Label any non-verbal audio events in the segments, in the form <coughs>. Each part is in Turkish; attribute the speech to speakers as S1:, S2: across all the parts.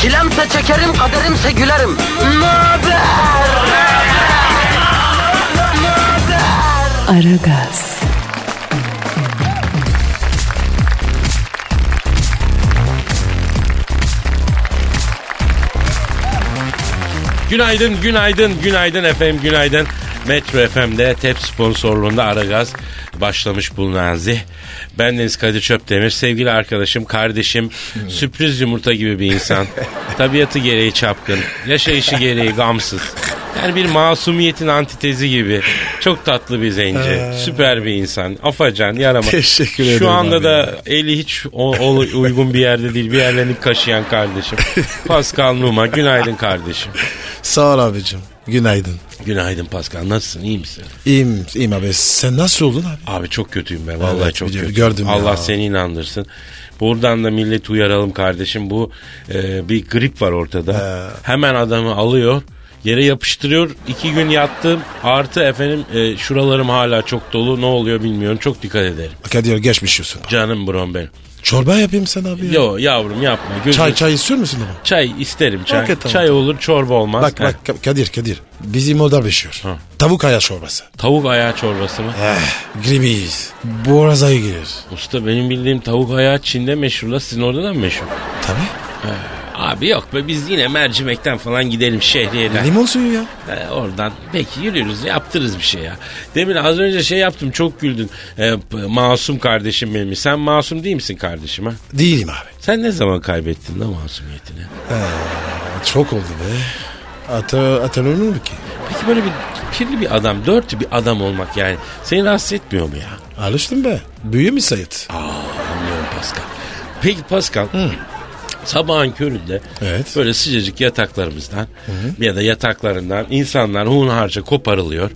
S1: Çilemse çekerim, kaderimse gülerim. Möber!
S2: Aragaz,
S3: Günaydın, günaydın, günaydın efendim, günaydın. Metro FM'de TEP sponsorluğunda Aragaz başlamış bulunazi. Ben Deniz Kadir Çöpdemir, sevgili
S4: <laughs>
S3: arkadaşım, kardeşim, sürpriz yumurta gibi bir insan. Tabiatı gereği çapkın, yaşayışı gereği gamsız. Yani bir masumiyetin antitezi gibi. Çok tatlı bir zenci, süper bir insan, afacan, yarama.
S4: Ee. Teşekkür
S3: Şu
S4: ederim
S3: anda
S4: abi
S3: da
S4: ya.
S3: Eli hiç o, o- uygun bir yerde değil. Bir yerlerini kaşıyan
S4: <laughs>
S3: kardeşim. Pascal Numa günaydın kardeşim.
S4: Sağ ol abicim. Günaydın.
S3: Günaydın Pascal. Nasılsın? iyi misin?
S4: İyiyim, iyiyim abi. Sen nasıl oldun abi?
S3: Abi çok kötüyüm ben. Vallahi
S4: Evet,
S3: çok
S4: biliyorum,
S3: kötü.
S4: gördüm ya.
S3: Allah seni inandırsın. Buradan da milleti uyaralım kardeşim. Bu e, bir grip var ortada. Hemen adamı alıyor. Yere yapıştırıyor. İki gün yattım. Artı efendim e, şuralarım hala çok dolu. Ne oluyor bilmiyorum. Çok dikkat ederim.
S4: Kadir geçmiş olsun.
S3: Canım brom benim.
S4: Çorba yapayım sen abi ya.
S3: Yo yavrum yapma. Gözün-
S4: Çay çay istiyor musun ama?
S3: Çay isterim çay.
S4: Hakikaten.
S3: Çay olur çorba olmaz.
S4: Bak
S3: Heh.
S4: bak Ka- Kadir Kadir. Bizim oda pişiyor.
S3: Ha.
S4: Tavuk ayağı çorbası.
S3: Tavuk ayağı çorbası mı?
S4: Eh, gribiyiz. Boğaza girer.
S3: Usta benim bildiğim tavuk ayağı Çin'de meşhur la sizin orada da mı meşhur?
S4: Tabii.
S3: Abi yok be biz yine mercimekten falan gidelim şehriyeden.
S4: Limon suyu ya.
S3: Ee, oradan peki yürüyoruz yaptırız bir şey ya. Demin az önce şey yaptım çok güldün. Ee, p- masum kardeşim benim. Sen masum değil misin kardeşim ha?
S4: Değilim abi.
S3: Sen ne zaman kaybettin la masumiyetini?
S4: Çok oldu be. Ata, hatırlamıyor mu ki?
S3: Peki böyle bir kirli bir adam, dört bir adam olmak yani seni rahatsız etmiyor mu ya?
S4: Alıştım be. Büyü mü Sayit?
S3: Anlıyorum Pascal. Peki Pascal. Sabahın köründe
S4: Evet.
S3: böyle sıcacık yataklarımızdan ya da yataklarından insanlar hunharca koparılıyor.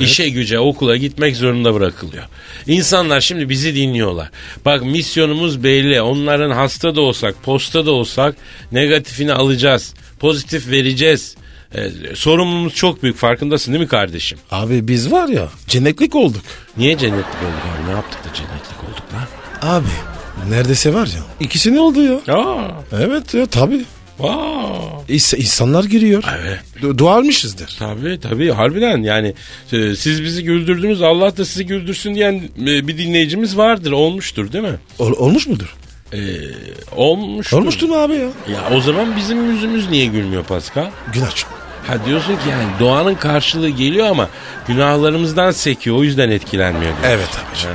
S3: İşe güce okula gitmek zorunda bırakılıyor. İnsanlar şimdi bizi dinliyorlar. Bak misyonumuz belli. Onların hasta da olsak, posta da olsak negatifini alacağız. Pozitif vereceğiz. Ee, sorumluluğumuz çok büyük farkındasın değil mi kardeşim?
S4: Abi biz var ya cennetlik olduk.
S3: Niye cennetlik olduk abi? Ne yaptık da cennetlik olduk lan?
S4: Abi neredeyse var ya. İkisini oldu ya.
S3: Aa,
S4: Evet ya tabii.
S3: aa.
S4: İs- insanlar giriyor.
S3: Evet.
S4: Du- dua almışızdır.
S3: Tabii tabii harbiden yani e, siz bizi güldürdünüz Allah da sizi güldürsün diyen e, bir dinleyicimiz vardır olmuştur değil mi?
S4: Ol- olmuş mudur?
S3: E, olmuştur.
S4: Olmuştur mu abi ya?
S3: Ya o zaman bizim yüzümüz niye gülmüyor Pascal?
S4: Günah çok.
S3: Ha diyorsun ki yani doğanın karşılığı geliyor ama günahlarımızdan sekiyor o yüzden etkilenmiyor. diyor.
S4: Evet abicim.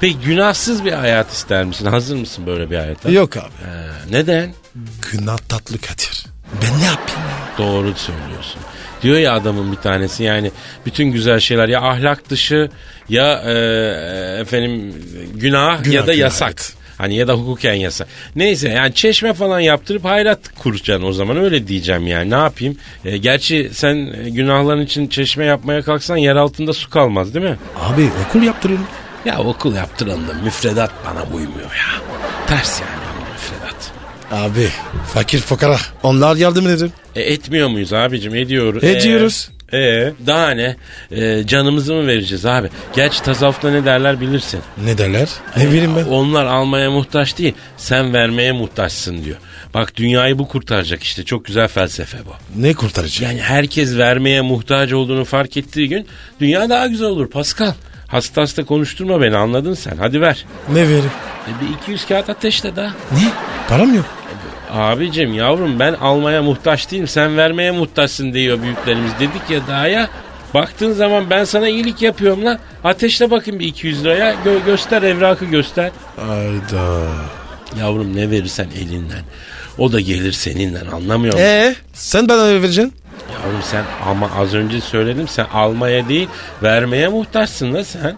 S3: Peki günahsız bir hayat ister misin? Hazır mısın böyle bir hayata?
S4: Yok abi.
S3: Ha, neden?
S4: Günah tatlı Kadir. Ben ne yapayım ya?
S3: Doğru söylüyorsun. Diyor ya adamın bir tanesi yani bütün güzel şeyler ya ahlak dışı ya e, efendim günah,
S4: Günah,
S3: ya da
S4: günah,
S3: yasak.
S4: evet.
S3: Hani ya da hukuken yasak. Neyse yani çeşme falan yaptırıp hayrat kuracaksın o zaman öyle diyeceğim yani ne yapayım. E, gerçi sen e, günahların için çeşme yapmaya kalksan yer altında su kalmaz değil mi?
S4: Abi okul yaptırıyorum.
S3: Ya okul yaptıralım da müfredat bana uymuyor ya. Ters yani bana müfredat.
S4: Abi fakir fukara. Onlar yardım ederim.
S3: E, etmiyor muyuz abicim? Ediyoruz.
S4: Ediyoruz.
S3: E, e, daha ne? E, canımızı mı vereceğiz abi? Gerçi tasavvufta ne derler bilirsin.
S4: Ne derler? Ne bileyim ben.
S3: Onlar almaya muhtaç değil. Sen vermeye muhtaçsın diyor. Bak dünyayı bu kurtaracak işte. Çok güzel felsefe bu.
S4: Ne kurtarıcı?
S3: Yani herkes vermeye muhtaç olduğunu fark ettiği gün dünya daha güzel olur Pascal. Hasta hasta konuşturma beni anladın sen. Hadi ver.
S4: Ne verim?
S3: E, bir 200 kağıt ateşle daha.
S4: Ne? Param yok.
S3: Abicim yavrum ben almaya muhtaç değilim sen vermeye muhtaçsın diyor büyüklerimiz dedik ya daha ya. Baktığın zaman ben sana iyilik yapıyorum lan. Ateşle bakın bir 200 liraya. Gö- göster evrakı göster.
S4: Ayda.
S3: Yavrum ne verirsen elinden. O da gelir seninden anlamıyor musun?
S4: Ee, sen bana ne vereceksin?
S3: Yavrum sen ama az önce söyledim sen almaya değil vermeye muhtaçsın da sen.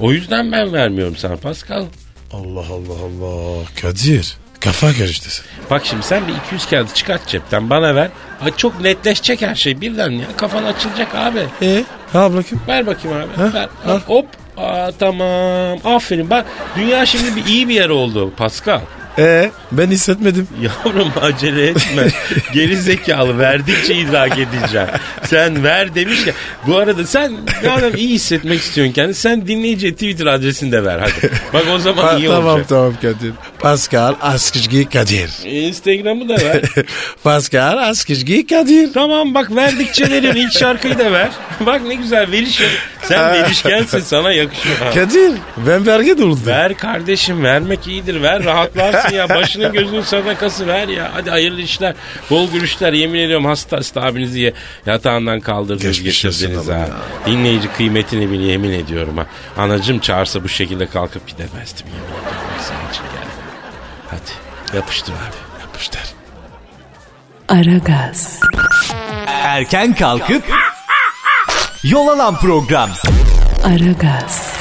S3: O yüzden ben vermiyorum sana Pascal.
S4: Allah Allah Allah. Kadir. Kafa karıştı.
S3: Bak şimdi sen bir 200 kağıdı çıkart cepten bana ver. Ay Çok netleşecek her şey birden ya. Kafan açılacak abi.
S4: E, abla kim?
S3: Ver bakayım abi.
S4: Ha,
S3: Ver.
S4: al.
S3: Hop. Aa, tamam. Aferin. Bak dünya şimdi bir iyi bir yer oldu Pascal. <laughs>
S4: E, ben hissetmedim.
S3: Yavrum acele
S4: <laughs>
S3: etme. Geri zekalı verdikçe idrak edeceğim. Sen ver demiş ya. Bu arada sen madem iyi hissetmek istiyorsun kendini sen dinleyici Twitter adresini de ver hadi. Bak o zaman
S4: Ha,
S3: iyi
S4: tamam
S3: olacak.
S4: tamam Kadir. Pascal Askizgi Kadir. <laughs>
S3: Instagram'ı da ver.
S4: Pascal Askizgi Kadir.
S3: Tamam bak verdikçe veriyorsun. İlk şarkıyı da ver. Bak ne güzel veriş. Sen verişkensin
S4: <laughs>
S3: sana yakışıyor. Ha.
S4: Kadir ben vergi durdum.
S3: Ver kardeşim vermek iyidir ver rahatlarsın ya başının gözünün sadakası ver ya hadi hayırlı işler bol gülüşler yemin ediyorum hasta hasta abinizi ye- yatağından kaldırdınız
S4: Geçmiş olsun
S3: getirdiniz
S4: oğlum
S3: ha. Dinleyici kıymetini bil yemin ediyorum ha. Anacım çağırsa bu şekilde kalkıp gidemezdim yemin ediyorum Bak senin için geldim. Hadi yapıştır abi yapıştır.
S2: Aragaz,
S5: Erken kalkıp yol alan program.
S2: Aragaz,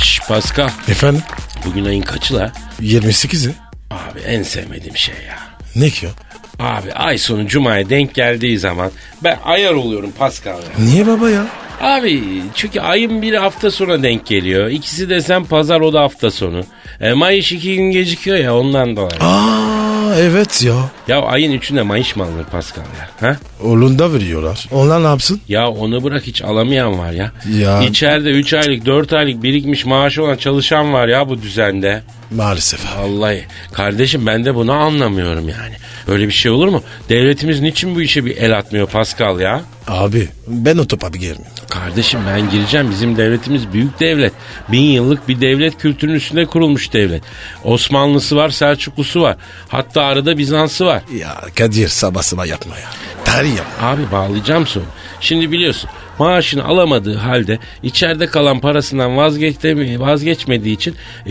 S3: Şş Pascal
S4: Efendim
S3: bugün ayın kaçı la?
S4: 28'i.
S3: Abi en sevmediğim şey ya.
S4: Ne ki o?
S3: Abi ay sonu cumaya denk geldiği zaman ben ayar oluyorum Pascal ya.
S4: Niye baba ya?
S3: Abi çünkü ayın biri hafta sonra denk geliyor. İkisi de sen pazar o da hafta sonu. E, Mayış iki gün gecikiyor ya ondan dolayı.
S4: Aa evet ya.
S3: Ya ayın üçünde Mayış mı alınır Pascal ya? Ha?
S4: Oğlunda veriyorlar. Onlar ne yapsın?
S3: Ya onu bırak hiç alamayan var ya.
S4: Ya.
S3: İçeride 3 aylık 4 aylık birikmiş maaşı olan çalışan var ya bu düzende.
S4: Maalesef abi.
S3: Vallahi kardeşim ben de bunu anlamıyorum yani. Böyle bir şey olur mu? Devletimiz niçin bu işe bir el atmıyor Pascal ya?
S4: Abi ben o topa bir girmiyorum.
S3: Kardeşim ben gireceğim. Bizim devletimiz büyük devlet. Bin yıllık bir devlet kültürünün üstüne kurulmuş devlet. Osmanlısı var, Selçuklusu var. Hatta arada Bizans'ı var.
S4: Ya Kadir sabah sabah yapma ya. Tarih yapma.
S3: Abi bağlayacağım sonra. Şimdi biliyorsun maaşını alamadığı halde içeride kalan parasından vazgeçtemi- vazgeçmediği için e,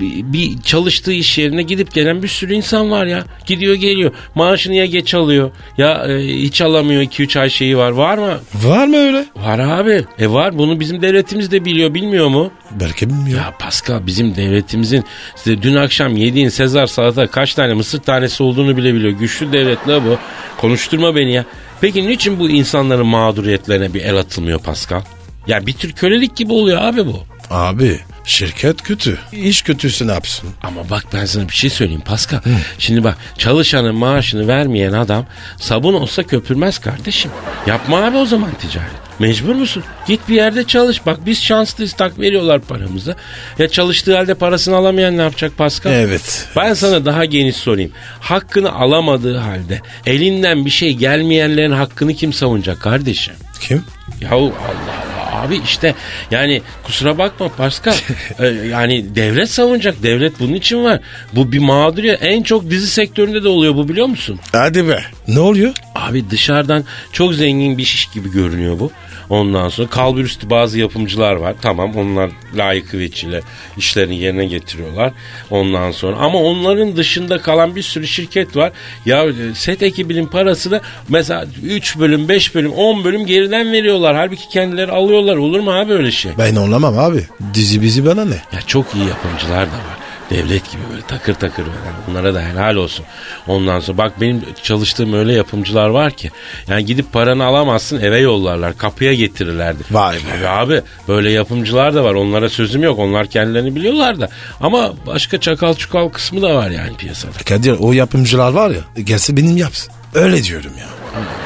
S3: bi- bir çalıştığı iş yerine gidip gelen bir sürü insan var ya. Gidiyor geliyor. Maaşını ya geç alıyor ya e, hiç alamıyor 2-3 ay şeyi var. Var mı?
S4: Var mı öyle?
S3: Var abi. E var. Bunu bizim devletimiz de biliyor. Bilmiyor mu?
S4: Belki bilmiyor.
S3: Ya Pascal bizim devletimizin size dün akşam yediğin Sezar salata kaç tane mısır tanesi olduğunu bile biliyor. Güçlü devlet la bu. Konuşturma beni ya. Peki niçin bu insanların mağduriyetlerine bir el atılmıyor Pascal? Ya bir tür kölelik gibi oluyor abi bu.
S4: Abi şirket kötü. İş kötüsü ne yapsın?
S3: Ama bak ben sana bir şey söyleyeyim Pascal. Şimdi bak çalışanın maaşını vermeyen adam sabun olsa köpürmez kardeşim. Yapma abi o zaman ticaret. Mecbur musun? Git bir yerde çalış. Bak biz şanslıyız tak veriyorlar paramızı. Ya çalıştığı halde parasını alamayan ne yapacak Pascal?
S4: Evet.
S3: Ben sana daha geniş sorayım. Hakkını alamadığı halde elinden bir şey gelmeyenlerin hakkını kim savunacak kardeşim?
S4: Kim?
S3: Yahu Allah Allah abi işte yani kusura bakma Pascal Ee, yani devlet savunacak devlet bunun için var. Bu bir mağduriyet en çok dizi sektöründe de oluyor bu biliyor musun?
S4: Hadi be. Ne oluyor?
S3: Abi dışarıdan çok zengin bir iş gibi görünüyor bu. Ondan sonra kalbur üstü bazı yapımcılar var. Tamam onlar layıkı veçile işlerini yerine getiriyorlar. Ondan sonra ama onların dışında kalan bir sürü şirket var. Ya e, set ekibinin parası da mesela 3 bölüm, 5 bölüm, 10 bölüm geriden veriyorlar. Halbuki kendileri alıyorlar. Olur mu abi öyle şey?
S4: Ben anlamam abi. Dizi bizi bana ne?
S3: Ya çok iyi yapımcılar da var. Devlet gibi böyle takır takır veren. Bunlara da helal olsun. Ondan sonra bak benim çalıştığım öyle yapımcılar var ki. Yani gidip paranı alamazsın eve yollarlar. Kapıya getirirlerdi.
S4: Vay be.
S3: Tabii abi böyle yapımcılar da var. Onlara sözüm yok. Onlar kendilerini biliyorlar da. Ama başka çakal çukal kısmı da var yani piyasada.
S4: Kadir o yapımcılar var ya. Gelse benim yapsın. Öyle diyorum ya.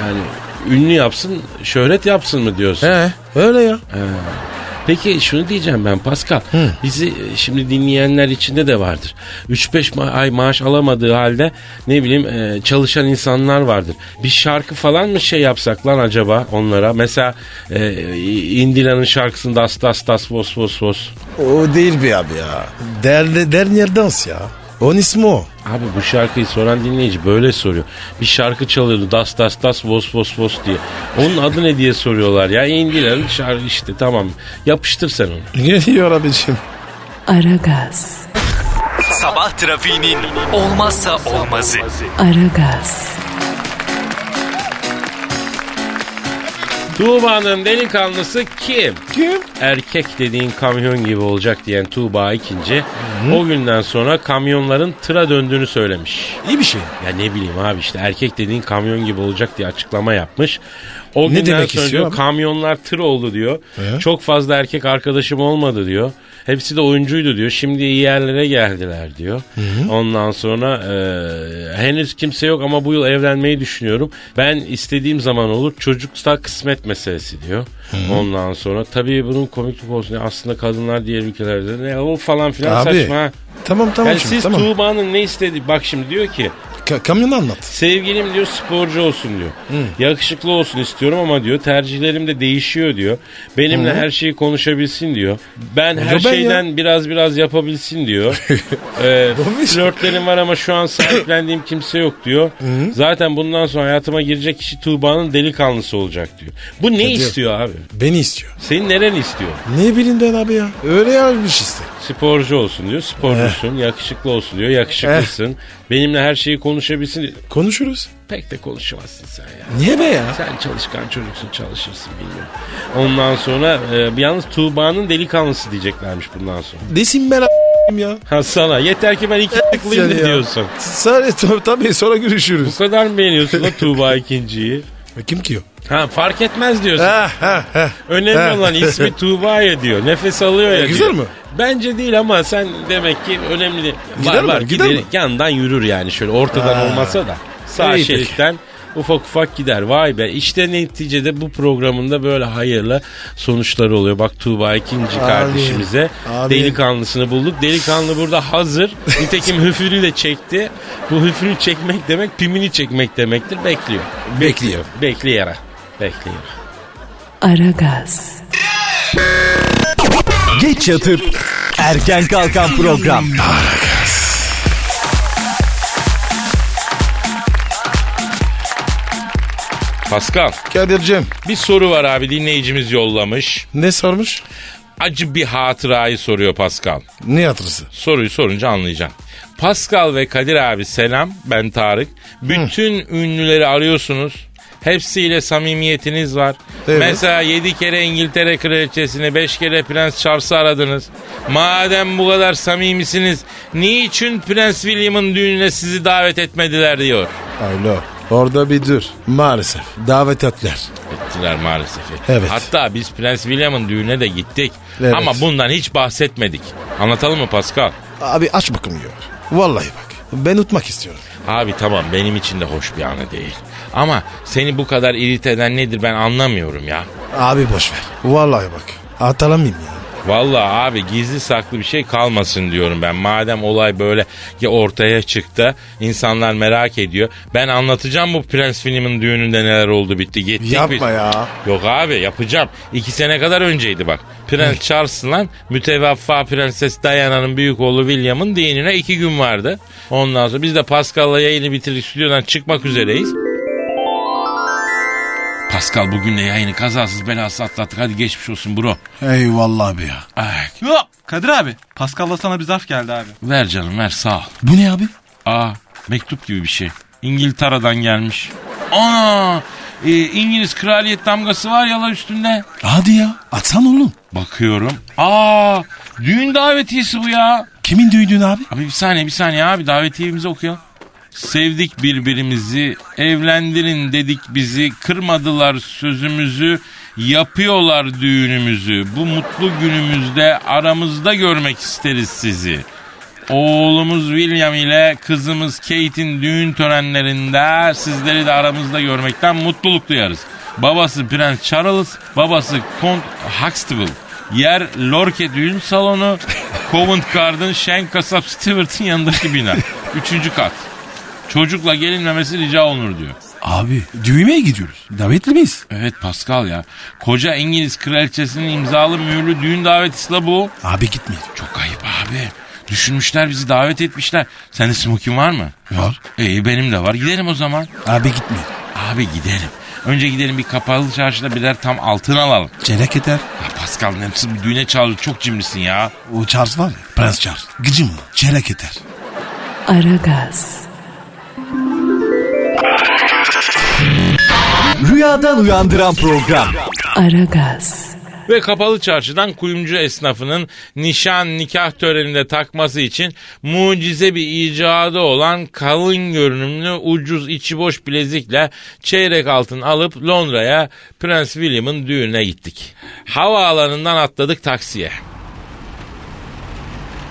S3: Yani ünlü yapsın, şöhret yapsın mı diyorsun?
S4: He. Öyle ya.
S3: Peki şunu diyeceğim ben Pascal. Bizi e, şimdi dinleyenler içinde de vardır. 3-5 ma- ay maaş alamadığı halde ne bileyim e, çalışan insanlar vardır. Bir şarkı falan mı şey yapsak lan acaba onlara? Mesela e, Indila'nın şarkısında das das das vos vos vos.
S4: O değil bir abi ya. Der, der Nerdans ya. Onun ismi o.
S3: Abi bu şarkıyı soran dinleyici böyle soruyor. Bir şarkı çalıyordu das das das vos vos vos diye. Onun adı ne diye soruyorlar ya. Indila'nın şarkı işte tamam yapıştır sen
S4: <laughs>
S3: onu.
S4: Geliyor abicim.
S2: Aragaz,
S5: Sabah trafiğinin olmazsa olmazı.
S2: Aragaz,
S3: Tuğba'nın delikanlısı kim?
S4: Kim?
S3: Erkek dediğin kamyon gibi olacak diyen Tuğba ikinci. O günden sonra kamyonların tıra döndüğünü söylemiş.
S4: İyi bir şey.
S3: Ya ne bileyim abi işte erkek dediğin kamyon gibi olacak diye açıklama yapmış. O günden
S4: demek
S3: sonra
S4: istiyor
S3: diyor,
S4: abi?
S3: kamyonlar tır oldu diyor.
S4: Ee?
S3: Çok fazla erkek arkadaşım olmadı diyor. Hepsi de oyuncuydu diyor. Şimdi iyi yerlere geldiler diyor. Ondan sonra e, henüz kimse yok ama bu yıl evlenmeyi düşünüyorum. Ben istediğim zaman olur. Çocuksa kısmet meselesi diyor. Ondan sonra tabii bunun komiklik olsun. Ya aslında kadınlar diğer ülkelerde ne o falan filan
S4: Abi.
S3: saçma. ha.
S4: Tamam tamam
S3: Yani
S4: şimdi
S3: siz
S4: tamam.
S3: Tuğba'nın ne istedi? Bak şimdi diyor ki
S4: Ka- kamyonu anlat.
S3: Sevgilim diyor sporcu olsun diyor. Yakışıklı olsun istiyorum ama diyor tercihlerim de değişiyor diyor. Benimle her şeyi konuşabilsin diyor. Ben her
S4: ben ya.
S3: şeyden biraz biraz
S4: <laughs>
S3: yapabilsin diyor. ee,
S4: Olmuş.
S3: flörtlerim var ama şu an sahiplendiğim kimse yok diyor. Zaten bundan sonra hayatıma girecek kişi Tuğba'nın delikanlısı olacak diyor. Bu ne istiyor abi?
S4: Beni istiyor.
S3: Senin neren istiyor?
S4: Ne bileyim ben abi ya. Öyle yazmış işte.
S3: Sporcu olsun diyor. Sporcusun.
S4: Eh.
S3: Yakışıklı olsun diyor. Yakışıklısın. Benimle her şeyi konuşabilsin diyor.
S4: Konuşuruz.
S3: Pek de konuşamazsın sen ya.
S4: Niye be ya?
S3: Sen çalışkan çocuksun çalışırsın bilmiyorum. Ondan sonra e, yalnız Tuğba'nın delikanlısı diyeceklermiş bundan sonra.
S4: Desin ben a**ayım <laughs> ya.
S3: Ha sana yeter ki ben iki tıklıyım
S4: seni ya.
S3: diyorsun.
S4: Sadece tab- tabii sonra
S3: Bu
S4: görüşürüz.
S3: kadar mı beğeniyorsun da Tuğba ikinciyi?
S4: Kim ki o?
S3: Ha fark etmez diyorsun.
S4: Ha ha ha.
S3: Önemli
S4: Ha. <laughs>
S3: olan ismi Tuğba'ya diyor. Nefes alıyor ya
S4: E, güzel
S3: diyor.
S4: mi?
S3: Bence değil ama sen demek ki önemli. değil.
S4: Gider
S3: var
S4: mi?
S3: var
S4: Gider
S3: gider
S4: mi?
S3: yandan yürür yani şöyle ortadan olmasa da. Sağ
S4: İyi peki.
S3: şeritten ufak ufak gider. Vay be işte neticede bu programında böyle hayırlı sonuçları oluyor. Bak Tuğba ikinci kardeşimize
S4: Amin.
S3: delikanlısını bulduk. Delikanlı burada hazır. Nitekim hüfrünü de çekti. Bu hüfrünü çekmek demek pimini çekmek demektir. Bekliyor.
S4: Bekliyor.
S3: Bekleyerek. Bekliyor.
S2: Aragaz,
S5: Geç yatıp erken kalkan program.
S3: Pascal.
S4: Kadir'cim
S3: Bir soru var abi dinleyicimiz yollamış.
S4: ne sormuş?
S3: Acı bir hatırayı soruyor Pascal.
S4: Ne hatırısı?
S3: Soruyu sorunca anlayacaksın. Pascal ve Kadir abi selam ben Tarık. Bütün ünlüleri arıyorsunuz. Hepsiyle samimiyetiniz var.
S4: Evet.
S3: Mesela 7 kere İngiltere kraliçesini, 5 kere Prens Charles'ı aradınız. Madem bu kadar samimisiniz, niçin Prens William'ın düğününe sizi davet etmediler diyor.
S4: Alo. Orada bir dur. Maalesef. Davet etler.
S3: Ettiler maalesef. ettiler.
S4: Evet.
S3: Hatta biz Prens William'ın düğüne de gittik.
S4: Evet.
S3: Ama bundan hiç bahsetmedik. Anlatalım mı Pascal?
S4: Abi aç bakım diyor. Vallahi bak. Ben utmak istiyorum.
S3: Abi tamam benim için de hoş bir anı değil. Ama seni bu kadar irit eden nedir ben anlamıyorum ya.
S4: Abi boş ver. Vallahi bak. Atalamayayım ya.
S3: Vallahi abi gizli saklı bir şey kalmasın diyorum ben. Madem olay böyle ya ortaya çıktı insanlar merak ediyor. Ben anlatacağım bu Prens William'ın düğününde neler oldu bitti. Gittik biz.
S4: Yapma ya.
S3: Yok abi yapacağım. İki sene kadar önceydi bak. Prens Charles'la mütevaffa Prenses Diana'nın büyük oğlu William'ın düğününe iki gün vardı. Ondan sonra biz de Pascal'la yayını bitirdik stüdyodan çıkmak üzereyiz. Pascal bugün de yayını kazasız belasız atlattık. Hadi geçmiş olsun bro.
S4: Eyvallah abi ya.
S3: Ay,
S6: Yok Kadir abi. Pascal'la sana bir zarf geldi abi.
S3: ver canım ver sağ ol.
S4: Bu ne abi?
S3: Aa mektup gibi bir şey. İngiltere'den gelmiş. Ana e, İngiliz kraliyet damgası var ya la üstünde.
S4: Hadi ya. Atsan oğlum.
S3: Bakıyorum. Aa düğün davetiyesi bu ya.
S4: Kimin düğünü abi?
S3: Abi bir saniye bir saniye abi davetiyemizi okuyalım. Sevdik birbirimizi, evlendirin dedik bizi, kırmadılar sözümüzü, yapıyorlar düğünümüzü. Bu mutlu günümüzde aramızda görmek isteriz sizi. Oğlumuz William ile kızımız Kate'in düğün törenlerinde sizleri de aramızda görmekten mutluluk duyarız. Babası Prens Charles, babası Kont Huxtable. Yer Lorke düğün
S4: <laughs>
S3: salonu, Covent Garden, Şen Kasap Stewart'ın yanındaki bina. Üçüncü kat. Çocukla gelinmemesi rica olunur diyor.
S4: Abi düğmeye gidiyoruz. Davetli miyiz?
S3: Evet Pascal ya. Koca İngiliz kraliçesinin imzalı mühürlü düğün davetisi la bu.
S4: Abi gitmeyelim.
S3: Çok ayıp abi. Düşünmüşler bizi davet etmişler. Sende smokin var mı?
S4: Var.
S3: İyi benim de var. Gidelim o zaman.
S4: Abi gitmeyelim.
S3: Abi gidelim. Önce gidelim bir kapalı çarşıda birer tam altın alalım.
S4: Çeyrek eder.
S3: Ya Pascal hepsi bir düğüne çağırıyor. Çok cimrisin ya.
S4: O Charles var ya. Prens Charles. Gıcım mı? Çeyrek eder.
S2: Aragaz,
S5: Rüyadan uyandıran program.
S2: Aragaz,
S3: Ve kapalı çarşıdan kuyumcu esnafının nişan nikah töreninde takması için mucize bir icadı olan kalın görünümlü ucuz içi boş bilezikle çeyrek altın alıp Londra'ya Prens William'ın düğüne gittik. Havaalanından atladık taksiye.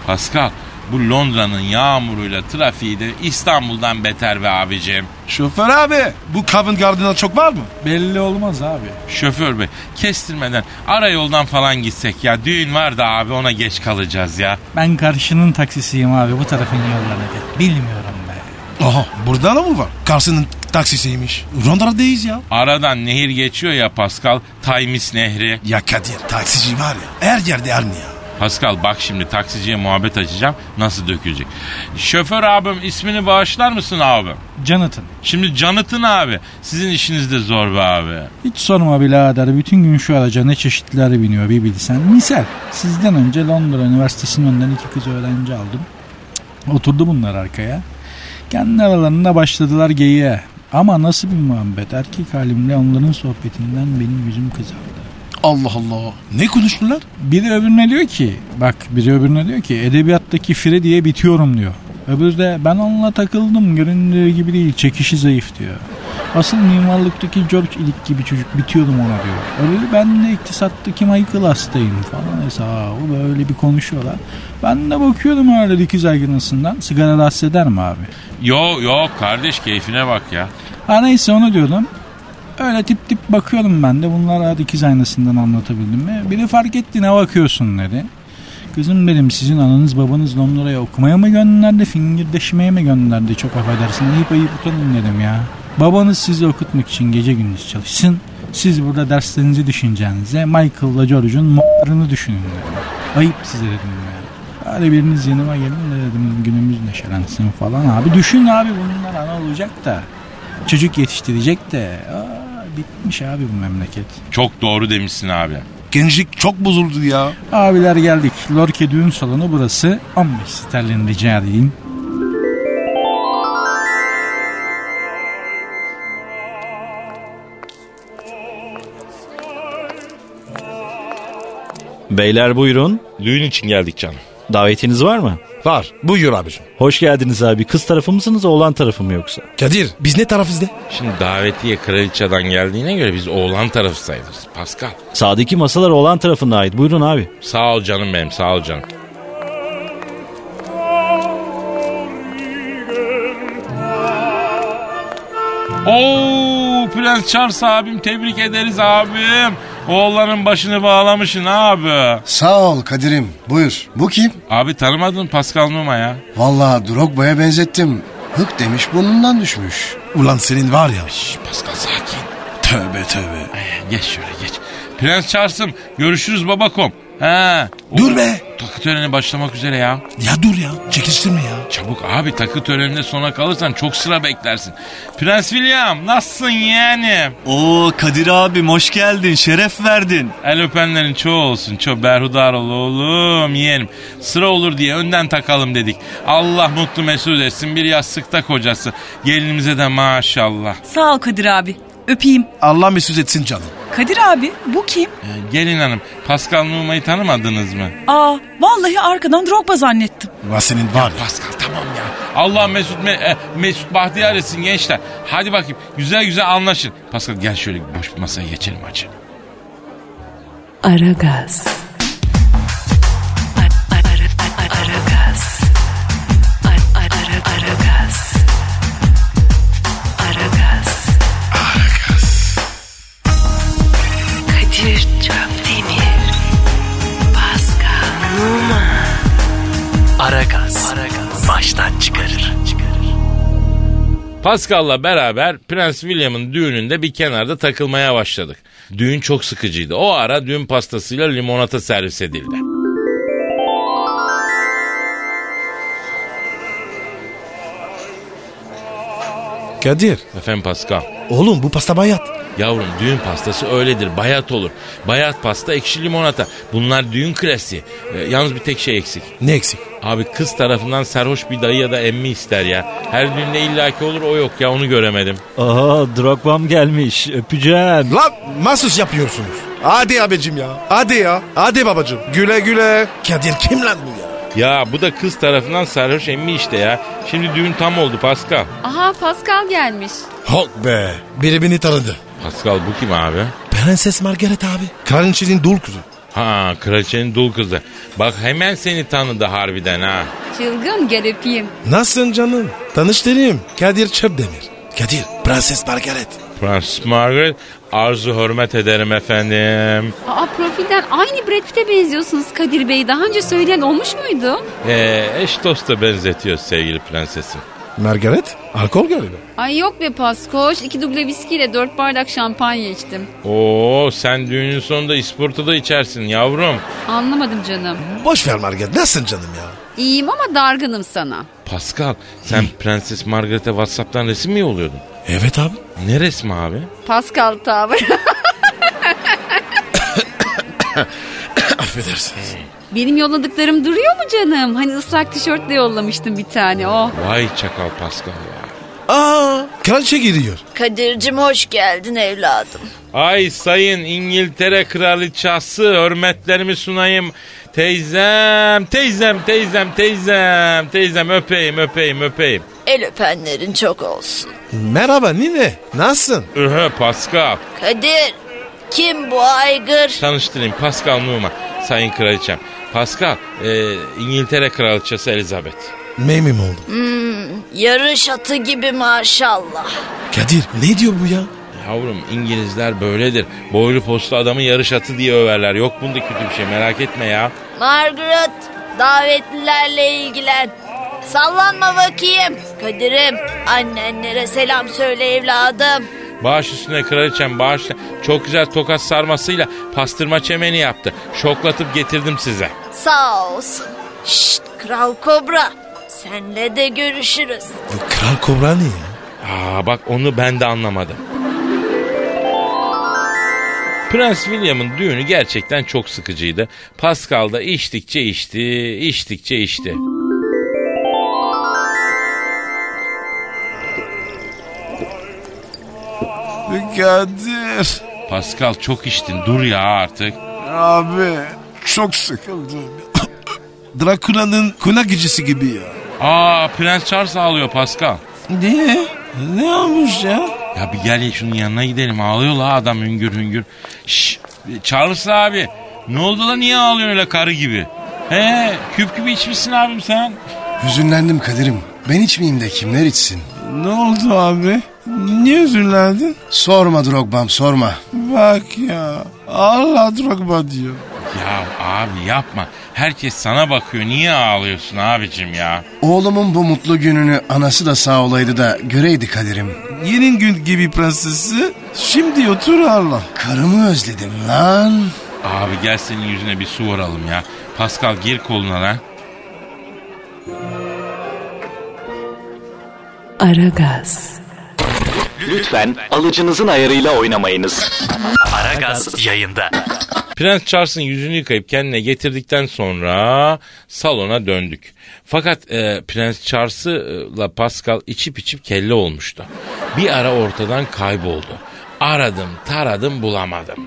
S3: Pascal bu Londra'nın yağmuruyla trafiği de İstanbul'dan beter ve abicim.
S6: Şoför abi.
S4: Bu Covent Garden'da çok var mı?
S6: Belli olmaz abi.
S3: Şoför bey kestirmeden ara yoldan falan gitsek ya düğün var da abi ona geç kalacağız ya.
S7: Ben karşının taksisiyim abi bu tarafın yolları de. Bilmiyorum be.
S4: Aha burada da mı var? Karşının taksisiymiş. Londra'dayız ya.
S3: Aradan nehir geçiyor ya Pascal. Taymis Nehri.
S4: Ya Kadir taksici var ya her yerde aynı ya.
S3: Pascal bak şimdi taksiciye muhabbet açacağım. Nasıl dökülecek? Şoför abim ismini bağışlar mısın abim?
S7: Jonathan.
S3: Şimdi Canıt'ın abi. Sizin işiniz de zor be abi.
S7: Hiç sorma birader bütün gün şu araca ne çeşitler biniyor bir bilsen. Misal sizden önce Londra Üniversitesi'nin önünden iki kız öğrenci aldım. Cık, Oturdu bunlar arkaya. Kendi aralarında başladılar geyiğe. Ama nasıl bir muhabbet erkek halimle onların sohbetinden benim yüzüm kızardı.
S4: Allah Allah. Ne konuştular?
S7: Biri öbürüne diyor ki bak biri öbürüne diyor ki edebiyattaki fire diye bitiyorum diyor. Öbürü de ben onunla takıldım göründüğü gibi değil çekişi zayıf diyor. Asıl mimarlıktaki George ilik gibi çocuk bitiyordum ona diyor. Öbürü ben de iktisattaki Michael hastayım falan hesabı böyle bir konuşuyorlar. Ben de bakıyordum öyle dikiz aygınasından sigara rahatsız eder mi abi?
S3: Yo yo kardeş keyfine bak ya.
S7: Ha neyse onu diyordum. Öyle tip tip bakıyorum ben de. Bunlar hadi ikiz aynasından anlatabildim mi? Biri fark etti ne bakıyorsun dedi. Kızım dedim sizin ananız babanız Londra'ya okumaya mı gönderdi, fingir deşmeye mi gönderdi çok affedersin. Ayıp ayıp utanın dedim ya. Babanız sizi okutmak için gece gündüz çalışsın. Siz burada derslerinizi düşüneceğinize Michael'la George'un m***larını düşünün dedim. Ayıp size dedim ya. Hadi biriniz yanıma gelin de dedim günümüz neşelensin falan abi. Düşün abi bunlar ana olacak da. Çocuk yetiştirecek de. Aa, bitmiş abi bu memleket.
S3: Çok doğru demişsin abi.
S4: Gençlik çok bozuldu ya.
S7: Abiler geldik. Lorke düğün salonu burası. 15 sterlin rica edeyim.
S5: Beyler buyurun.
S3: Düğün için geldik canım.
S5: Davetiniz var mı?
S4: Var. Buyur abicim.
S5: Hoş geldiniz abi. Kız tarafı mısınız oğlan tarafı mı yoksa?
S4: Kadir biz ne tarafız de?
S3: Şimdi davetiye kraliçeden geldiğine göre biz oğlan tarafı sayılırız. Pascal.
S5: Sağdaki masalar oğlan tarafına ait. Buyurun abi.
S3: Sağ ol canım benim sağ ol canım. Oo Prens Charles abim tebrik ederiz abim. Oğlanın başını bağlamışsın abi.
S8: Sağ ol Kadir'im. Buyur. Bu kim?
S3: Abi tanımadın Pascal Numa ya.
S8: Vallahi Drogba'ya benzettim. Hık demiş burnundan düşmüş.
S4: Ulan senin var ya.
S3: Şş, Pascal sakin.
S4: Tövbe tövbe.
S3: Geç şöyle geç. Prens Charles'ım görüşürüz babakom. Ha.
S4: Dur be.
S3: Takı töreni başlamak üzere ya.
S4: Ya dur ya. Çekiştirme ya.
S3: Çabuk abi takı töreninde sona kalırsan çok sıra beklersin. Prens William nasılsın yeğenim?
S5: Oo Kadir abim hoş geldin. Şeref verdin.
S3: El öpenlerin çoğu olsun. Çok berhudar ol oğlum yeğenim. Sıra olur diye önden takalım dedik. Allah mutlu mesut etsin bir yastıkta kocası. Gelinimize de maşallah.
S9: Sağ ol Kadir abi. Öpeyim.
S4: Allah mesut etsin canım.
S9: Kadir abi bu kim?
S3: Ee, gelin hanım Pascal Numa'yı tanımadınız mı?
S9: Aa vallahi arkadan Drogba zannettim.
S4: Ulan senin var ya.
S3: Pascal tamam ya. Allah Mesut Me- e, Mesut Bahtiyar etsin gençler. Hadi bakayım güzel güzel anlaşın. Pascal gel şöyle boş bir masaya geçelim hacı.
S2: Aragaz. Ara- ara- ara- Aragaz. Ara- ara- Aragaz. Aragaz. Kadir Çöptemir. Pascal Numa. Aragaz. Baştan çıkarır.
S3: Pascal'la beraber Prens William'ın düğününde bir kenarda takılmaya başladık. Düğün çok sıkıcıydı. O ara düğün pastasıyla limonata servis edildi.
S4: Kadir.
S3: Efendim Pascal.
S4: Oğlum bu pasta bayat.
S3: Yavrum düğün pastası öyledir. Bayat olur. Bayat pasta ekşi limonata. Bunlar düğün klasiği. Ee, yalnız bir tek şey eksik.
S4: Ne eksik?
S3: Abi kız tarafından sarhoş bir dayı ya da emmi ister ya. Her düğünde illaki olur o yok ya onu göremedim.
S5: Aha Drogba'm gelmiş öpeceğim.
S4: Lan masus yapıyorsunuz. Hadi abicim ya. Hadi ya. Hadi babacım. Güle güle. Kadir kim lan bu ya?
S3: Ya bu da kız tarafından sarhoş emmi işte ya. Şimdi düğün tam oldu Pascal.
S10: Aha Pascal gelmiş.
S4: Hulk be. Biri beni tanıdı.
S3: Pascal bu kim abi?
S4: Prenses Margaret abi. Kraliçenin dul kızı.
S3: Ha kraliçenin dul kızı. Bak hemen seni tanıdı harbiden ha.
S10: Çılgın gel öpeyim.
S4: Nasılsın canım? Tanıştırayım. Kadir Çöpdemir. Kadir, Prenses Margaret.
S3: Prens Margaret arzu hürmet ederim efendim.
S10: Aa profilden aynı Brad Pitt'e benziyorsunuz Kadir Bey. Daha önce söyleyen olmuş muydu?
S3: Ee, eş dosta benzetiyor sevgili prensesim.
S4: Margaret? Alkol galiba.
S10: Ay yok be Paskoş. İki duble viskiyle dört bardak şampanya içtim.
S3: Oo sen düğünün sonunda isportu da içersin yavrum.
S10: Anlamadım canım.
S4: Boş ver Margaret. Nasılsın canım ya?
S10: İyiyim ama dargınım sana.
S3: Pascal sen Prenses Margaret'e Whatsapp'tan resim mi yolluyordun?
S4: Evet abi.
S3: Ne resmi abi?
S10: Pascal tavır. <laughs>
S4: Affedersiniz.
S10: Benim yolladıklarım duruyor mu canım? Hani ıslak tişörtle yollamıştım bir tane oh. o.
S3: Vay çakal Pascal ya.
S4: Aa, kraliçe giriyor.
S2: Kadir'cim hoş geldin evladım.
S3: Ay sayın İngiltere kraliçası hürmetlerimi sunayım. Teyzem, teyzem, teyzem, teyzem, teyzem öpeyim, öpeyim, öpeyim.
S2: El öpenlerin çok olsun.
S4: Merhaba nine. Nasılsın?
S3: Öhe Pascal.
S2: Kadir kim bu aygır?
S3: Tanıştırayım Pascal Numa, sayın kraliçem. Pascal, e, İngiltere kraliçesi Elizabeth.
S4: Memnun oldum.
S2: Yarış atı gibi maşallah.
S4: Kadir ne diyor bu ya?
S3: Yavrum İngilizler böyledir. Boylu postlu adamı yarış atı diye överler. Yok bunda kötü bir şey merak etme ya.
S2: Margaret davetlilerle ilgilen. Sallanma bakayım. Kadir'im annenlere selam söyle evladım.
S3: Bağış üstüne kraliçem bağış üstüne. Çok güzel tokat sarmasıyla pastırma çemeni yaptı. Şoklatıp getirdim size.
S2: Sağ olsun. Şşt Kral Kobra. Senle de görüşürüz.
S4: Bu kral kobra ne ya?
S3: Aa bak onu ben de anlamadım. Prens William'ın düğünü gerçekten çok sıkıcıydı. Pascal da içtikçe içti, içtikçe içti.
S6: Kadir.
S3: Pascal çok içtin dur ya artık.
S6: Abi çok sıkıldım. <coughs>
S4: Drakula'nın kuna gecesi gibi ya.
S3: Aa Prens Charles ağlıyor Pascal.
S6: Niye? Ne olmuş ya?
S3: Ya bir gel şunun yanına gidelim ağlıyor la adam hüngür hüngür. Şşş Charles abi ne oldu la niye ağlıyorsun öyle karı gibi? He küp gibi içmişsin abim sen.
S8: Hüzünlendim Kadir'im. Ben içmeyeyim de kimler içsin?
S6: Ne oldu abi? Niye üzüldün?
S8: Sorma Drogba'm sorma.
S6: Bak ya. Allah Drogba diyor.
S3: Ya abi yapma. Herkes sana bakıyor. Niye ağlıyorsun abicim ya?
S8: Oğlumun bu mutlu gününü anası da sağ olaydı da göreydi Kadir'im.
S6: Yeni gün gibi prensesi şimdi otur Allah.
S8: Karımı özledim lan.
S3: Abi gel senin yüzüne bir su vuralım ya. Pascal gir koluna lan.
S2: Aragaz,
S1: Lütfen alıcınızın ayarıyla oynamayınız.
S11: Aragaz yayında.
S3: Prens Charles'ın yüzünü yıkayıp kendine getirdikten sonra salona döndük. Fakat e, Prens Charles'la Pascal içip içip kelle olmuştu. Bir ara ortadan kayboldu. Aradım, taradım, bulamadım.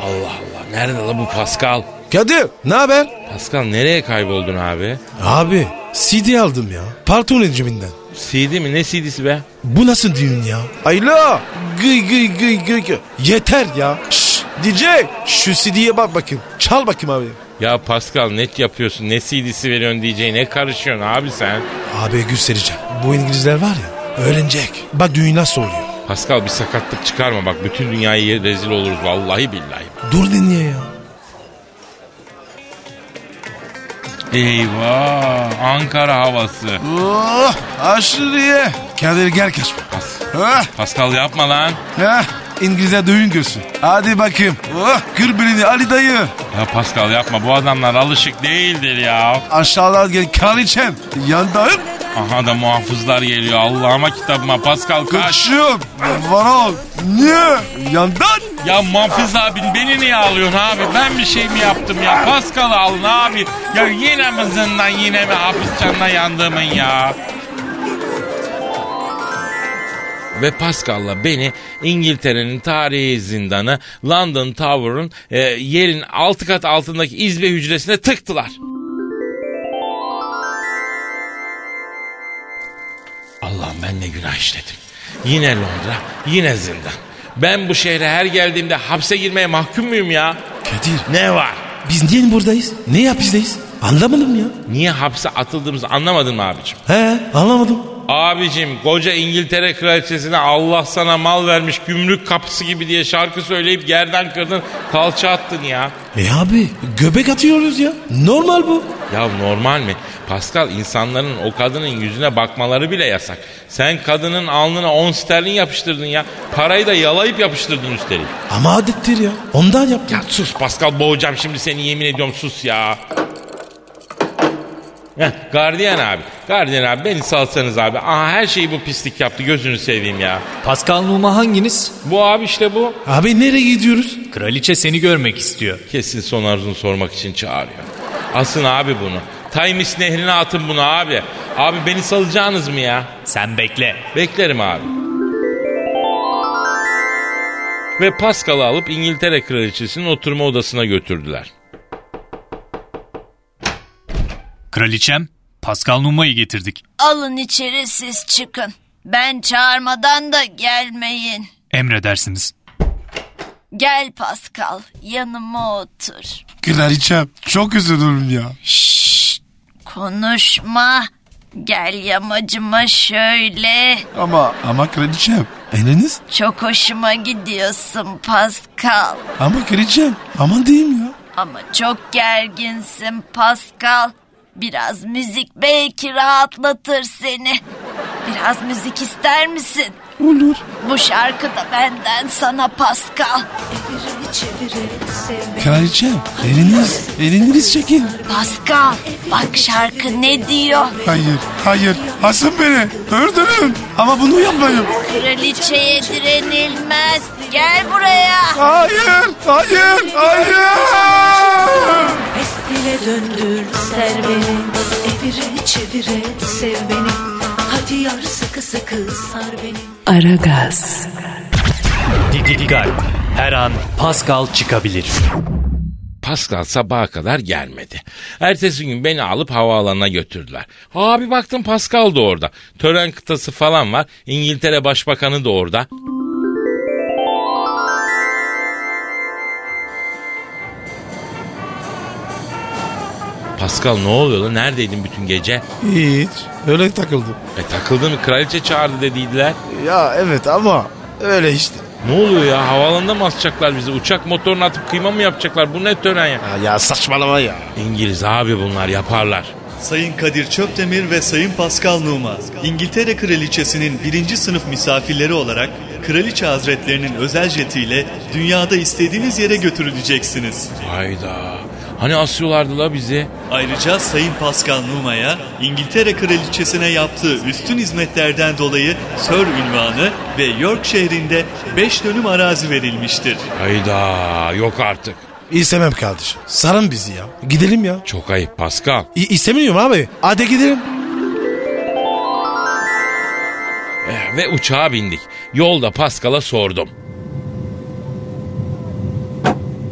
S3: Allah Allah. Nerede la bu Pascal?
S4: Kadir ne haber?
S3: Pascal nereye kayboldun abi?
S4: Abi CD aldım ya. Partonun cebinden.
S3: CD mi? Ne CD'si be?
S4: Bu nasıl düğün ya? Ayla. Gıy gıy gıy gıy gıy. Yeter ya. Şşş DJ şu CD'ye bak bakayım. Çal bakayım abi.
S3: Ya Pascal net yapıyorsun. Ne CD'si veriyorsun diyeceğine ne karışıyorsun abi sen?
S4: Abi göstereceğim. Bu İngilizler var ya öğrenecek. Bak düğün nasıl oluyor.
S3: Pascal bir sakatlık çıkarma bak. Bütün dünyayı rezil oluruz vallahi billahi.
S4: Dur dinle ya.
S3: Eyvah Ankara havası.
S6: Oh aşırı ye. Kadir gel kaçma.
S3: Pas-
S6: Hah,
S3: Pascal yapma lan.
S6: hah.
S4: İngilizler düğün görsün. Hadi bakayım. Oh, kır birini Ali dayı.
S3: Ya Pascal yapma bu adamlar alışık değildir ya.
S4: Aşağıdan gel kan içen. Yandayım.
S3: Aha da muhafızlar geliyor Allah'ıma kitabıma Pascal kaç.
S4: Kaçıyorum. Varol. Niye? Yandan.
S3: Ya muhafız abin beni niye alıyorsun abi? Ben bir şey mi yaptım ya? Pascal alın abi. Ya yine mi zindan yine mi hapis canına yandığımın ya? Ve Pascal'la beni İngiltere'nin tarihi zindanı London Tower'ın e, yerin altı kat altındaki izbe hücresine tıktılar. Allah'ım ben ne günah işledim. Yine Londra, yine zindan. Ben bu şehre her geldiğimde hapse girmeye mahkum muyum ya?
S12: Kadir.
S3: Ne var?
S12: Biz niye buradayız? Ne hapisteyiz? Anlamadım ya.
S3: Niye hapse atıldığımızı anlamadın mı abicim?
S12: He anlamadım.
S3: Abicim koca İngiltere kraliçesine Allah sana mal vermiş gümrük kapısı gibi diye şarkı söyleyip gerden kırdın kalça attın ya.
S12: E abi göbek atıyoruz ya. Normal bu.
S3: Ya normal mi? Pascal insanların o kadının yüzüne bakmaları bile yasak. Sen kadının alnına 10 sterlin yapıştırdın ya. Parayı da yalayıp yapıştırdın üstelik.
S12: Ama adettir ya. Ondan yaptım.
S3: Ya sus Pascal boğacağım şimdi seni yemin ediyorum sus ya. Heh, gardiyan abi. Gardiyan abi beni salsanız abi. Aha her şeyi bu pislik yaptı gözünü seveyim ya.
S13: Pascal Numa hanginiz?
S3: Bu abi işte bu.
S12: Abi nereye gidiyoruz?
S13: Kraliçe seni görmek istiyor.
S3: Kesin son arzunu sormak için çağırıyor. Asın abi bunu. Times nehrine atın bunu abi. Abi beni salacağınız mı ya?
S13: Sen bekle.
S3: Beklerim abi. Ve Pascal'ı alıp İngiltere kraliçesinin oturma odasına götürdüler.
S13: Kraliçem, Pascal Numa'yı getirdik.
S2: Alın içeri siz çıkın. Ben çağırmadan da gelmeyin.
S13: Emredersiniz.
S2: Gel Pascal yanıma otur.
S4: Kraliçem çok üzülürüm ya.
S2: Konuşma. Gel yamacıma şöyle.
S4: Ama ama kraliçem eliniz.
S2: Çok hoşuma gidiyorsun Pascal.
S4: Ama kraliçem aman diyeyim ya.
S2: Ama çok gerginsin Pascal. Biraz müzik belki rahatlatır seni. Biraz müzik ister misin?
S4: Olur.
S2: Bu şarkı da benden sana Pascal.
S4: Kraliçem eliniz eliniz çekin.
S2: Pascal bak şarkı ne diyor?
S4: Hayır hayır asın beni öldürün ama bunu yapmayın.
S2: Kraliçeye direnilmez. Gel buraya.
S4: Hayır hayır hayır.
S14: Dile döndür ser beni Evire çevire sev beni Hadi yar sıkı sıkı sar beni
S13: Aragaz. Dikkat. Her an Pascal çıkabilir.
S3: Pascal sabaha kadar gelmedi. Ertesi gün beni alıp havaalanına götürdüler. Abi baktım Pascal da orada. Tören kıtası falan var. İngiltere Başbakanı da orada. Pascal ne oluyor lan? Neredeydin bütün gece?
S12: Hiç. Öyle takıldım.
S3: E takıldın mı? Kraliçe çağırdı dediydiler.
S12: Ya evet ama öyle işte.
S3: Ne oluyor ya? Havalanında mı asacaklar bizi? Uçak motorunu atıp kıyma mı yapacaklar? Bu ne tören ya?
S12: Ya saçmalama ya.
S3: İngiliz abi bunlar yaparlar.
S15: Sayın Kadir Çöptemir ve Sayın Pascal Numa, İngiltere Kraliçesi'nin birinci sınıf misafirleri olarak Kraliçe Hazretlerinin özel jetiyle dünyada istediğiniz yere götürüleceksiniz.
S3: Hayda. Hani asıyorlardı la bizi?
S15: Ayrıca Sayın Pascal Numa'ya İngiltere Kraliçesi'ne yaptığı üstün hizmetlerden dolayı Sir ünvanı ve York şehrinde 5 dönüm arazi verilmiştir.
S3: Hayda yok artık.
S12: İstemem kardeşim. Sarın bizi ya. Gidelim ya.
S3: Çok ayıp Pascal.
S12: İ- istemiyorum abi. Hadi gidelim.
S3: Eh, Ve uçağa bindik. Yolda Pascal'a sordum.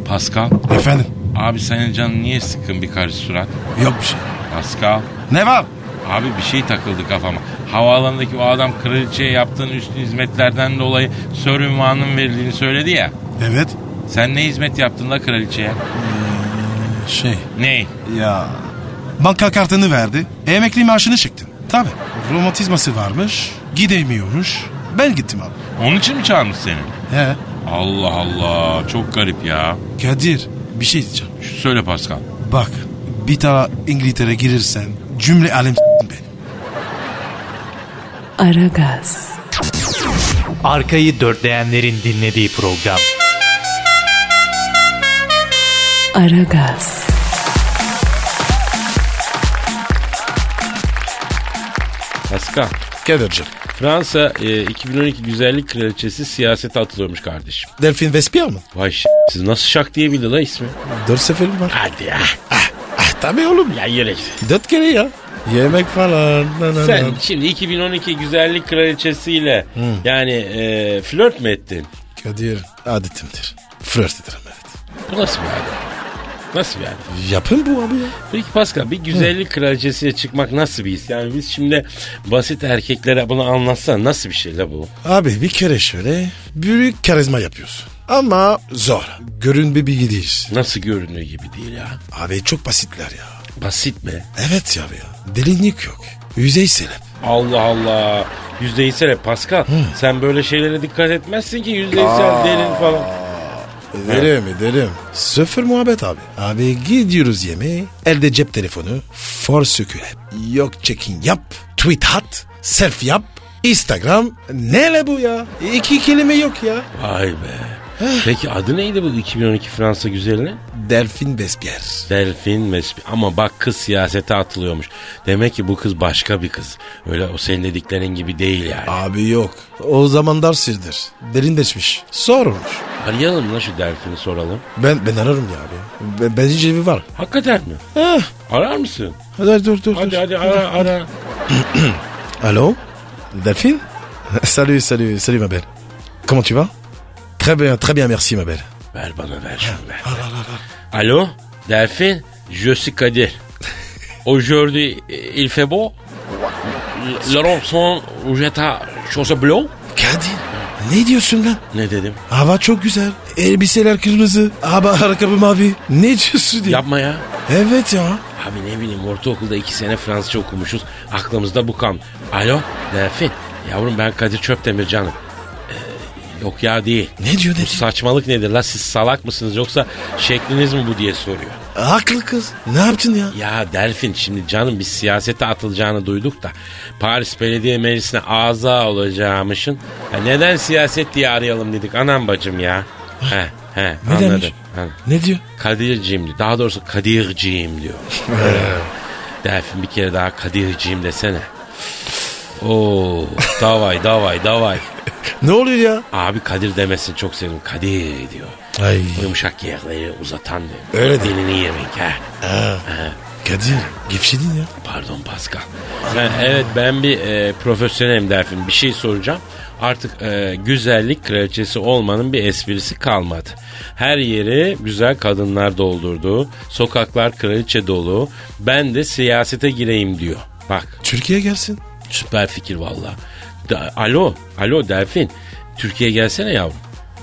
S3: Pascal.
S12: Efendim?
S3: Abi senin canın niye sıkın bir karış surat?
S12: Yok bir şey.
S3: Pascal.
S12: Ne var?
S3: Abi bir şey takıldı kafama. Havaalanındaki o adam kraliçeye yaptığın üstün hizmetlerden dolayı sör ünvanının verildiğini söyledi ya.
S4: Evet.
S3: Sen ne hizmet yaptın la kraliçeye?
S4: Şey
S3: Ney?
S4: ya banka kartını verdi. E, Emekli maaşını çektim. Tabi romatizması varmış gidemiyormuş. Ben gittim abi.
S3: Onun için mi çağırmış seni?
S4: He.
S3: Allah Allah çok garip ya.
S4: Kadir bir şey diyeceğim.
S3: Şu söyle Pascal.
S4: Bak bir daha İngiltere girirsen cümle alem s**tim beni.
S14: Aragaz
S13: Arkayı dörtleyenlerin dinlediği program.
S14: Aragaz,
S3: Pascal. Fransa e, 2012 güzellik kraliçesi siyasete atılıyormuş kardeşim.
S4: Delfin Vespier mi?
S3: Vay ş- siz nasıl şak diyebildi la ismi?
S4: Dört seferim var.
S3: Hadi ya.
S4: Ah, Tabii oğlum.
S3: Ya yere git.
S4: Dört kere ya. Yemek falan. Na, na,
S3: Sen
S4: na.
S3: şimdi 2012 güzellik kraliçesiyle yani e, flört mü ettin?
S4: Kadir adetimdir. Flört ederim evet.
S3: Bu nasıl bir adet? Nasıl yani?
S4: Yapın bu abi ya.
S3: Peki Pascal bir güzellik kraliçesiyle çıkmak nasıl bir his? Yani biz şimdi basit erkeklere bunu anlatsana nasıl bir şey la bu?
S4: Abi bir kere şöyle büyük karizma yapıyorsun. Ama zor. Görün bir bilgi değil.
S3: Nasıl görünüyor gibi değil ya.
S4: Abi çok basitler ya.
S3: Basit mi?
S4: Evet ya abi ya. Derinlik yok. Yüzeysel hep.
S3: Allah Allah. Yüzdeysel hep Pascal. Sen böyle şeylere dikkat etmezsin ki yüzdeysel
S4: Aa.
S3: derin falan.
S4: Ederim ederim. Sıfır muhabbet abi. Abi gidiyoruz yemeğe. Elde cep telefonu. For sökül hep. Yok check-in yap. Tweet at. Selfie yap. Instagram. Nele bu ya? İki kelime yok ya.
S3: Vay be. Peki adı neydi bu 2012 Fransa güzelinin?
S4: Delfin Bespier.
S3: Delfin mesbi. Ama bak kız siyasete atılıyormuş. Demek ki bu kız başka bir kız. Öyle o senin dediklerin gibi değil yani.
S4: Abi yok. O zamanlar sirdir. Derinleşmiş. Sormuş.
S3: Arayalım lan şu Delfin'i soralım.
S4: Ben ben ararım ya abi. Ben, bence cebi var.
S3: Hakikaten mi?
S4: Heh.
S3: Arar mısın?
S4: Hadi dur dur.
S3: Hadi
S4: dur.
S3: hadi ara ara.
S4: Allô Delphine <laughs> Salut, salut, salut ma belle. Comment tu vas Très bien, très bien, merci ma belle.
S3: Ver bana ver şunu ver. Alo Delfin. Je suis Kadir. Aujourd'hui il fait beau. Laurent son jeta chose bleu.
S4: Kadir ne diyorsun lan?
S3: Ne dedim?
S4: Hava çok güzel. Elbiseler kırmızı. Ama ayakkabı mavi. Ne diyorsun diye.
S3: Yapma ya.
S4: Evet ya.
S3: Abi ne bileyim ortaokulda iki sene Fransızca okumuşuz. Aklımızda bu kan. Alo Delfin. Yavrum ben Kadir Çöptemir canım. Ee, yok ya değil.
S4: Ne diyor
S3: Bu saçmalık nedir la siz salak mısınız yoksa şekliniz mi bu diye soruyor.
S4: Haklı kız. Ne yaptın ya?
S3: Ya Delfin şimdi canım biz siyasete atılacağını duyduk da Paris Belediye Meclisi'ne aza olacağımışın. Ya neden siyaset diye arayalım dedik anam bacım ya. he he
S4: Ne
S3: anladım.
S4: demiş?
S3: anladım.
S4: Ne diyor?
S3: Kadir'ciğim diyor. Daha doğrusu Kadir'ciğim diyor. Delfin bir kere daha Kadir'ciğim desene. Oo, davay davay davay.
S4: Ne oluyor ya?
S3: Abi Kadir demesini çok sevdim. Kadir diyor.
S4: Ay.
S3: Bu Yumuşak yerleri uzatan diyor.
S4: Öyle değil.
S3: Dilini yemek ha.
S4: Ha.
S3: Ha.
S4: Kadir gevşedin ya.
S3: Pardon Pascal. Ben, evet ben bir e, profesyonelim Delfin. Bir şey soracağım. Artık e, güzellik kraliçesi olmanın bir esprisi kalmadı. Her yeri güzel kadınlar doldurdu. Sokaklar kraliçe dolu. Ben de siyasete gireyim diyor. Bak
S4: Türkiye gelsin.
S3: süper fikir valla. Da- Alo, alo Delfin. Türkiye'ye gelsene yavrum.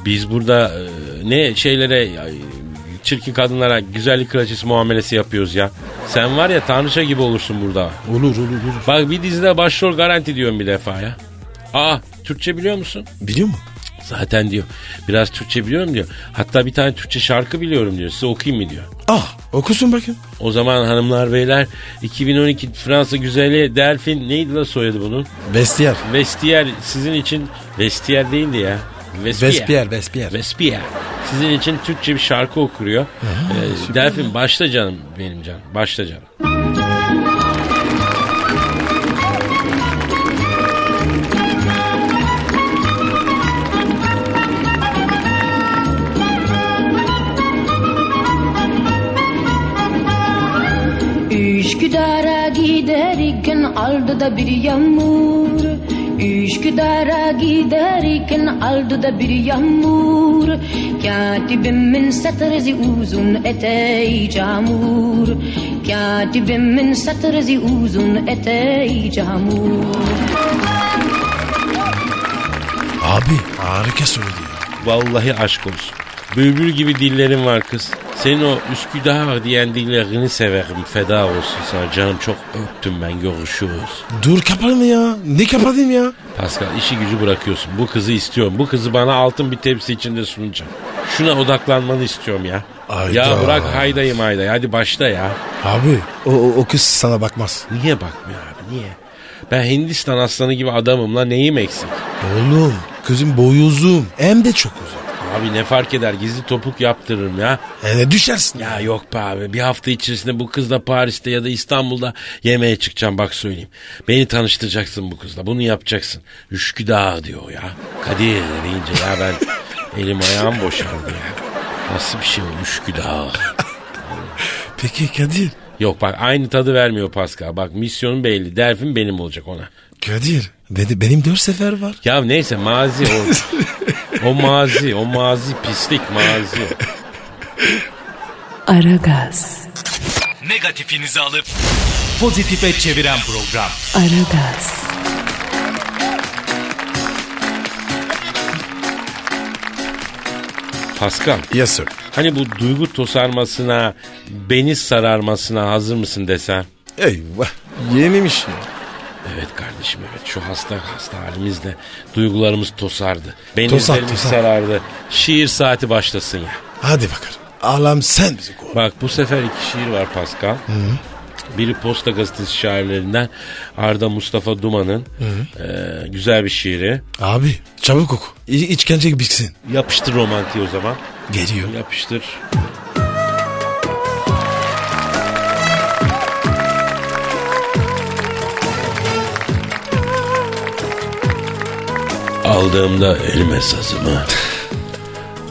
S3: Biz burada e, ne şeylere ay, çirkin kadınlara güzellik kraliçesi muamelesi yapıyoruz ya. Sen var ya tanrıça gibi olursun burada.
S4: Olur olur olur.
S3: Bak bir dizide başrol garanti diyorum bir defa ya. Aa Türkçe biliyor musun?
S4: Biliyor musun?
S3: Zaten diyor biraz Türkçe biliyorum diyor. Hatta bir tane Türkçe şarkı biliyorum diyor. Size okuyayım mı diyor.
S4: Ah okusun bakayım.
S3: O zaman hanımlar beyler 2012 Fransa güzeli Delfin neydi la soyadı bunun?
S4: Vestiyer.
S3: Vestiyer sizin için Vestiyer değildi ya.
S4: Vespier, Vespier.
S3: Vespier. Sizin için Türkçe bir şarkı okuruyor. Ee, Delfin başla canım benim canım. Başla canım.
S16: Üsküdar'a giderken aldı da bir yağmur Üsküdar'a giderken aldı da bir yağmur Katibimin satrezi uzun eteği camur Katibimin satrezi uzun eteği camur
S4: Abi harika söyledi ya.
S3: Vallahi aşk olsun. Bülbül gibi dillerin var kız. Senin o Üsküdar diyen dillerini severim. Feda olsun sana canım çok öptüm ben görüşürüz.
S4: Dur kapanma ya. Ne kapatayım ya?
S3: Pascal işi gücü bırakıyorsun. Bu kızı istiyorum. Bu kızı bana altın bir tepsi içinde sunacağım. Şuna odaklanmanı istiyorum ya.
S4: Hayda.
S3: Ya bırak haydayım hayday. Hadi başla ya.
S4: Abi o, o, o kız sana bakmaz.
S3: Niye bakmıyor abi niye? Ben Hindistan aslanı gibi adamım la neyim eksik?
S4: Oğlum kızım boyu uzun hem de çok uzun.
S3: Abi ne fark eder gizli topuk yaptırırım ya.
S4: Hele düşersin.
S3: Ya yok be abi bir hafta içerisinde bu kızla Paris'te ya da İstanbul'da yemeğe çıkacağım bak söyleyeyim. Beni tanıştıracaksın bu kızla bunu yapacaksın. Üsküdağ diyor ya. Kadir deyince ya ben elim ayağım boşaldı ya. Nasıl bir şey o Üsküdağ.
S4: Peki Kadir.
S3: Yok bak aynı tadı vermiyor Pascal. Bak misyonun belli. Derfim benim olacak ona.
S4: Kadir dedi benim dört sefer var.
S3: Ya neyse mazi o. o mazi, o mazi pislik mazi.
S14: Aragaz,
S11: Negatifinizi alıp pozitife çeviren program.
S14: Aragaz,
S3: Pascal.
S4: Yes sir.
S3: Hani bu duygu tosarmasına, beni sararmasına hazır mısın desem?
S4: Eyvah yememiş ya.
S3: Evet kardeşim evet şu hasta hasta halimizde duygularımız tosardı.
S4: Tosar,
S3: Benizlerimiz
S4: tosar.
S3: sarardı. Şiir saati başlasın ya.
S4: Hadi bakalım. Alam sen bizi koru.
S3: Bak bu sefer iki şiir var Pascal. Biri Posta Gazetesi şairlerinden Arda Mustafa Duman'ın eee, güzel bir şiiri.
S4: Abi çabuk oku. İ- İçkence bitsin.
S3: Yapıştır romantiği o zaman.
S4: Geliyor.
S3: Yapıştır. Aldığımda elime sazımı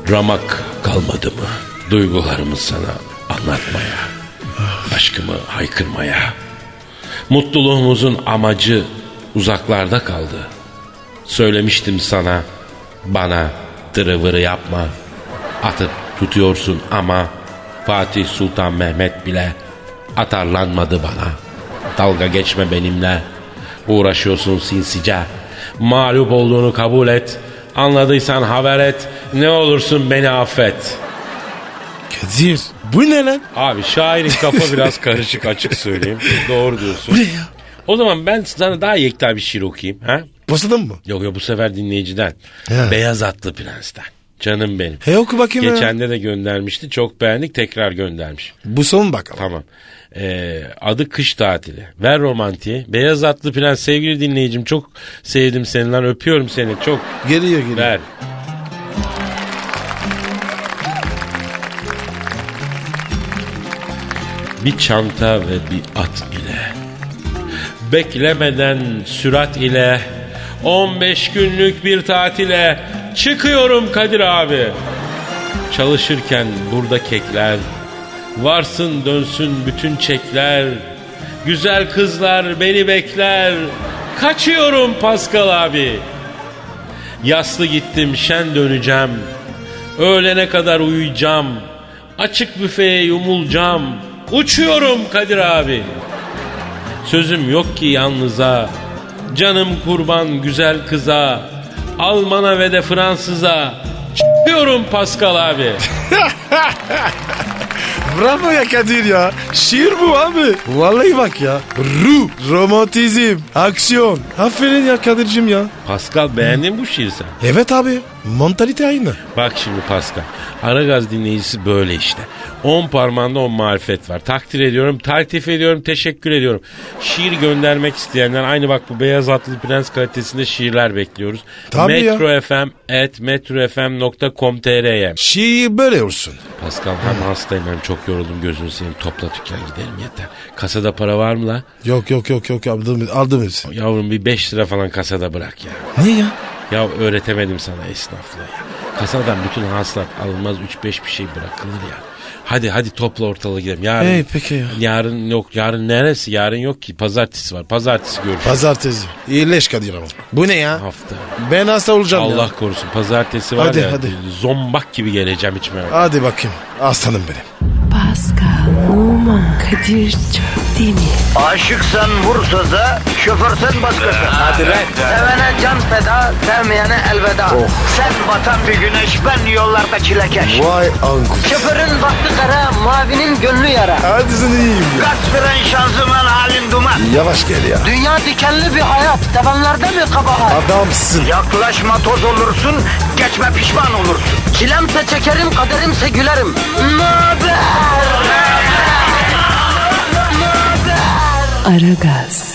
S3: Ramak kalmadı mı Duygularımı sana anlatmaya Aşkımı haykırmaya Mutluluğumuzun amacı uzaklarda kaldı Söylemiştim sana Bana tırıvırı yapma Atıp tutuyorsun ama Fatih Sultan Mehmet bile Atarlanmadı bana Dalga geçme benimle Uğraşıyorsun sinsice Mağlup olduğunu kabul et Anladıysan haber et Ne olursun beni affet
S4: Kadir bu ne lan?
S3: Abi şairin <laughs> kafa biraz karışık açık söyleyeyim. Doğru diyorsun.
S4: Bu ne ya?
S3: O zaman ben sana daha yekta bir şiir okuyayım. Ha?
S4: Postadan mı?
S3: Yok yok bu sefer dinleyiciden.
S4: He.
S3: Beyaz Atlı Prens'ten. Canım benim.
S4: He oku bakayım ya.
S3: Geçen de de göndermişti. Çok beğendik tekrar göndermiş.
S4: Bu son bakalım.
S3: Tamam. Ee, adı Kış Tatili. Ver romantiği. Beyaz Atlı Prens sevgili dinleyicim çok sevdim seni lan. Öpüyorum seni çok.
S4: Geliyor geliyor.
S3: Ver. Bir çanta ve bir at ile Beklemeden sürat ile 15 günlük bir tatile Çıkıyorum Kadir abi Çalışırken burada kekler Varsın dönsün bütün çekler Güzel kızlar beni bekler Kaçıyorum Pascal abi Yaslı gittim şen döneceğim. Öğlene kadar uyuyacağım. Açık büfeye yumulacağım. Uçuyorum Kadir abi. Sözüm yok ki yalnıza. Canım kurban güzel kıza. Almana ve de Fransız'a. Çıkıyorum Pascal abi.
S4: Bravo ya Kadir ya. Şiir bu abi. Vallahi bak ya. Ruh, romantizm, aksiyon. Aferin ya Kadir'cim ya.
S3: Pascal beğendin mi bu şiiri sen?
S4: Evet abi. Mentalite aynı.
S3: Bak şimdi Pascal. Aragaz dinleyicisi böyle işte. On parmağında on marifet var. Takdir ediyorum, taltif ediyorum, teşekkür ediyorum. Şiir göndermek isteyenler aynı bak bu Beyaz Atlı Prens kalitesinde şiirler bekliyoruz.
S4: Tabii ya.
S3: metrofm.metrofm.com.tr'ye
S4: Şiir böyle olsun.
S3: Pascal hem hastayım hem çok yoruldum gözünü seveyim. Topla dükkan gidelim yeter. Kasada para var mı la?
S4: Yok yok yok yok aldım, aldım hepsini.
S3: Yavrum bir 5 lira falan kasada bırak ya.
S4: Niye ya?
S3: Ya öğretemedim sana esnaflığı ya. Kasadan bütün hasılat alınmaz 3-5 bir şey bırakılır ya. Hadi hadi topla ortalığı gidelim. Yarın,
S4: Ey peki ya.
S3: yarın yok. Yarın neresi? Yarın yok ki. Pazartesi var. Pazartesi görüşürüz.
S4: Pazartesi. İyileş Kadir ama. Bu ne ya?
S3: Hafta.
S4: Ben hasta olacağım
S3: Allah
S4: ya.
S3: korusun. Pazartesi var
S4: Hadi,
S3: ya.
S4: hadi.
S3: Zombak gibi geleceğim içime.
S4: Hadi bakayım. Aslanım benim.
S14: Pascal, Oman, Kadir çok değil mi?
S1: Aşıksan vursa da şoförsen başkasın. Hadi
S14: lan.
S1: Sevene can feda, sevmeyene elveda. Sen batan bir güneş, ben yollarda çilekeş.
S4: Vay anku.
S1: Şoförün baktı kara, mavinin gönlü yara.
S4: Hadi sen iyiyim ya.
S1: Kasperen şanzıman halin duman.
S4: Yavaş gel ya.
S1: Dünya dikenli bir hayat, sevenlerde mi kabahar?
S4: Adamsın.
S1: Yaklaşma toz olursun, geçme pişman olursun. Çilemse çekerim, kaderimse gülerim. Möber!
S14: Aragaz.